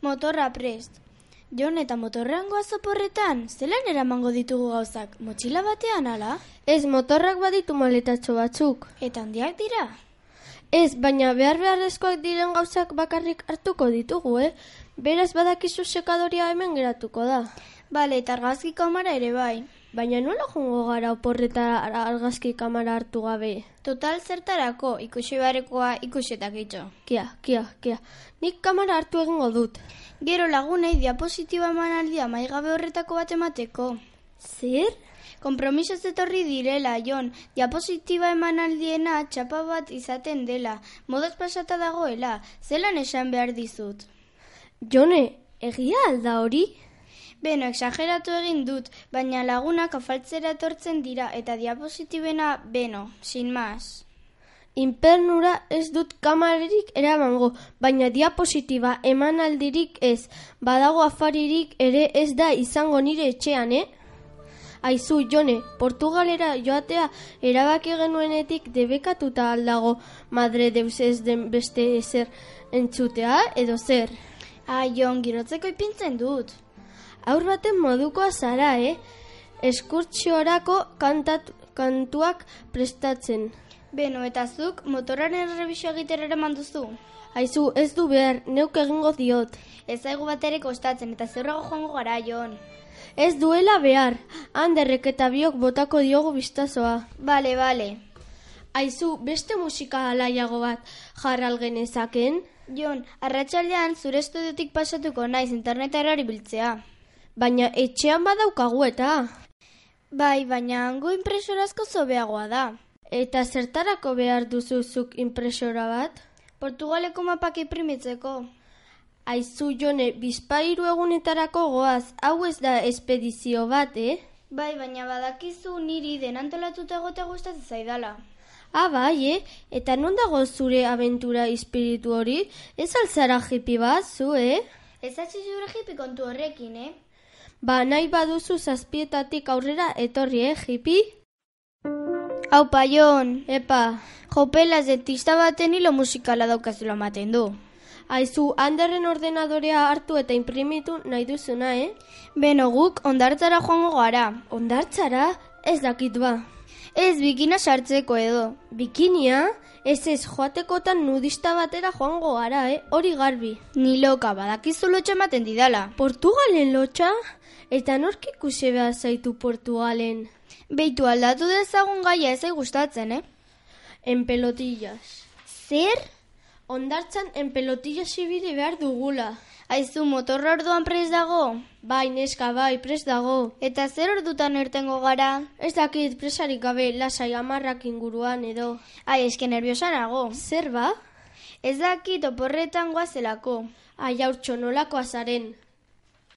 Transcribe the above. Motorra prest. Jon eta motorrean goaz oporretan, zelan eramango ditugu gauzak, motxila batean ala? Ez motorrak baditu maletatxo batzuk. Eta handiak dira? Ez, baina behar beharrezkoak diren gauzak bakarrik hartuko ditugu, eh? Beraz badakizu sekadoria hemen geratuko da. Bale, eta argazki kamara ere bai. Baina nola jongo gara oporretara argazki kamara hartu gabe? Total zertarako, ikusi barekoa ikusetak itxo. Kia, kia, kia. Nik kamara hartu egingo dut. Gero lagunei diapositiba emanaldia maigabe horretako bat emateko. Zer? Kompromisoz etorri direla, Jon, diapositiba emanaldiena txapa bat izaten dela, modaz pasata dagoela, zelan esan behar dizut. Jone, egia alda hori? Beno, exageratu egin dut, baina lagunak afaltzera etortzen dira eta diapositibena, beno, sin mas. Inpernura ez dut kamarerik eramango, baina diapositiba emanaldirik ez, badago afaririk ere ez da izango nire etxean, eh? Aizu, Jone, Portugalera joatea erabaki genuenetik debekatuta aldago Madre Deus ez den beste ezer entzutea edo zer. Ai, Jon, girotzeko ipintzen dut. Aur baten modukoa zara, eh? Eskurtsiorako kantat, kantuak prestatzen. Beno, eta zuk motoraren errebisio egitera eraman duzu. Aizu, ez du behar, neuk egingo diot. Ez zaigu bat ere kostatzen eta zeurrago joango gara, Jon. Ez duela behar, handerrek eta biok botako diogu biztazoa. Bale, bale. Aizu, beste musika alaiago bat jarral genezaken? Jon, arratsaldean zure estudiotik pasatuko naiz internetara biltzea. Baina etxean badaukagu eta. Bai, baina hango impresorazko zobeagoa da. Eta zertarako behar duzuzuk impresora bat? Portugaleko mapak imprimitzeko. Aizu jone, bizpairu egunetarako goaz, hau ez da espedizio bat, eh? Bai, baina badakizu niri denantolatuta egote gustatzen zaidala. Ah, bai, eh? Eta non dago zure abentura espiritu hori? Ez alzara jipi bat, zu, eh? Ez atzi zure hipi kontu horrekin, eh? Ba, nahi baduzu zazpietatik aurrera etorri, eh, jipi? Hau paion, Epa, jopela zetista baten hilo musikala daukazula ematen du. aizu, handerren ordenadorea hartu eta imprimitu nahi duzuna, eh? Beno guk ondartzara joango gara. Ondartzara, ez dakit ba. Ez bikina sartzeko edo. Bikinia, ez ez joatekotan nudista batera joango gara, eh? Hori garbi. Niloka, badakizu lotxe ematen didala. Portugalen lotxa? Eta nork ikusi behar zaitu Portugalen? Beitu aldatu dezagun gaia ezai gustatzen, eh? En pelotillas. Zer? Ondartzan en pelotillas ibili behar dugula. Aizu motorra orduan prez dago. Bai, neska, bai, pres dago. Eta zer ordutan irtengo gara? Ez dakit presarik gabe lasai amarrak inguruan edo. Ai, eske nerviosa nago. Zer ba? Ez dakit oporretan goazelako. Ai, haurtxo nolakoa zaren.